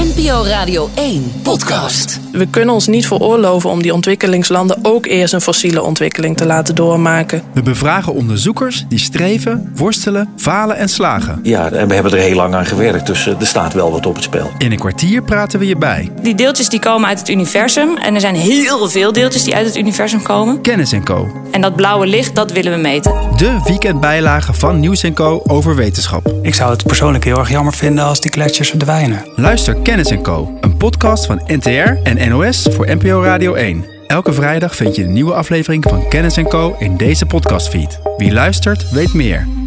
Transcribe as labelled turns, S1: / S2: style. S1: NPO Radio 1 podcast.
S2: We kunnen ons niet veroorloven om die ontwikkelingslanden ook eerst een fossiele ontwikkeling te laten doormaken.
S3: We bevragen onderzoekers die streven, worstelen, falen en slagen.
S4: Ja, en we hebben er heel lang aan gewerkt, dus eh, er staat wel wat op het spel.
S3: In een kwartier praten we je bij.
S5: Die deeltjes die komen uit het universum. En er zijn heel veel deeltjes die uit het universum komen.
S3: Kennis en Co.
S5: En dat blauwe licht, dat willen we meten.
S3: De weekendbijlage van Nieuws en Co over wetenschap.
S6: Ik zou het persoonlijk heel erg jammer vinden als die gletsjers verdwijnen.
S3: Luister Kennis en Co, een podcast van NTR en NOS voor NPO Radio 1. Elke vrijdag vind je een nieuwe aflevering van Kennis en Co in deze podcastfeed. Wie luistert, weet meer.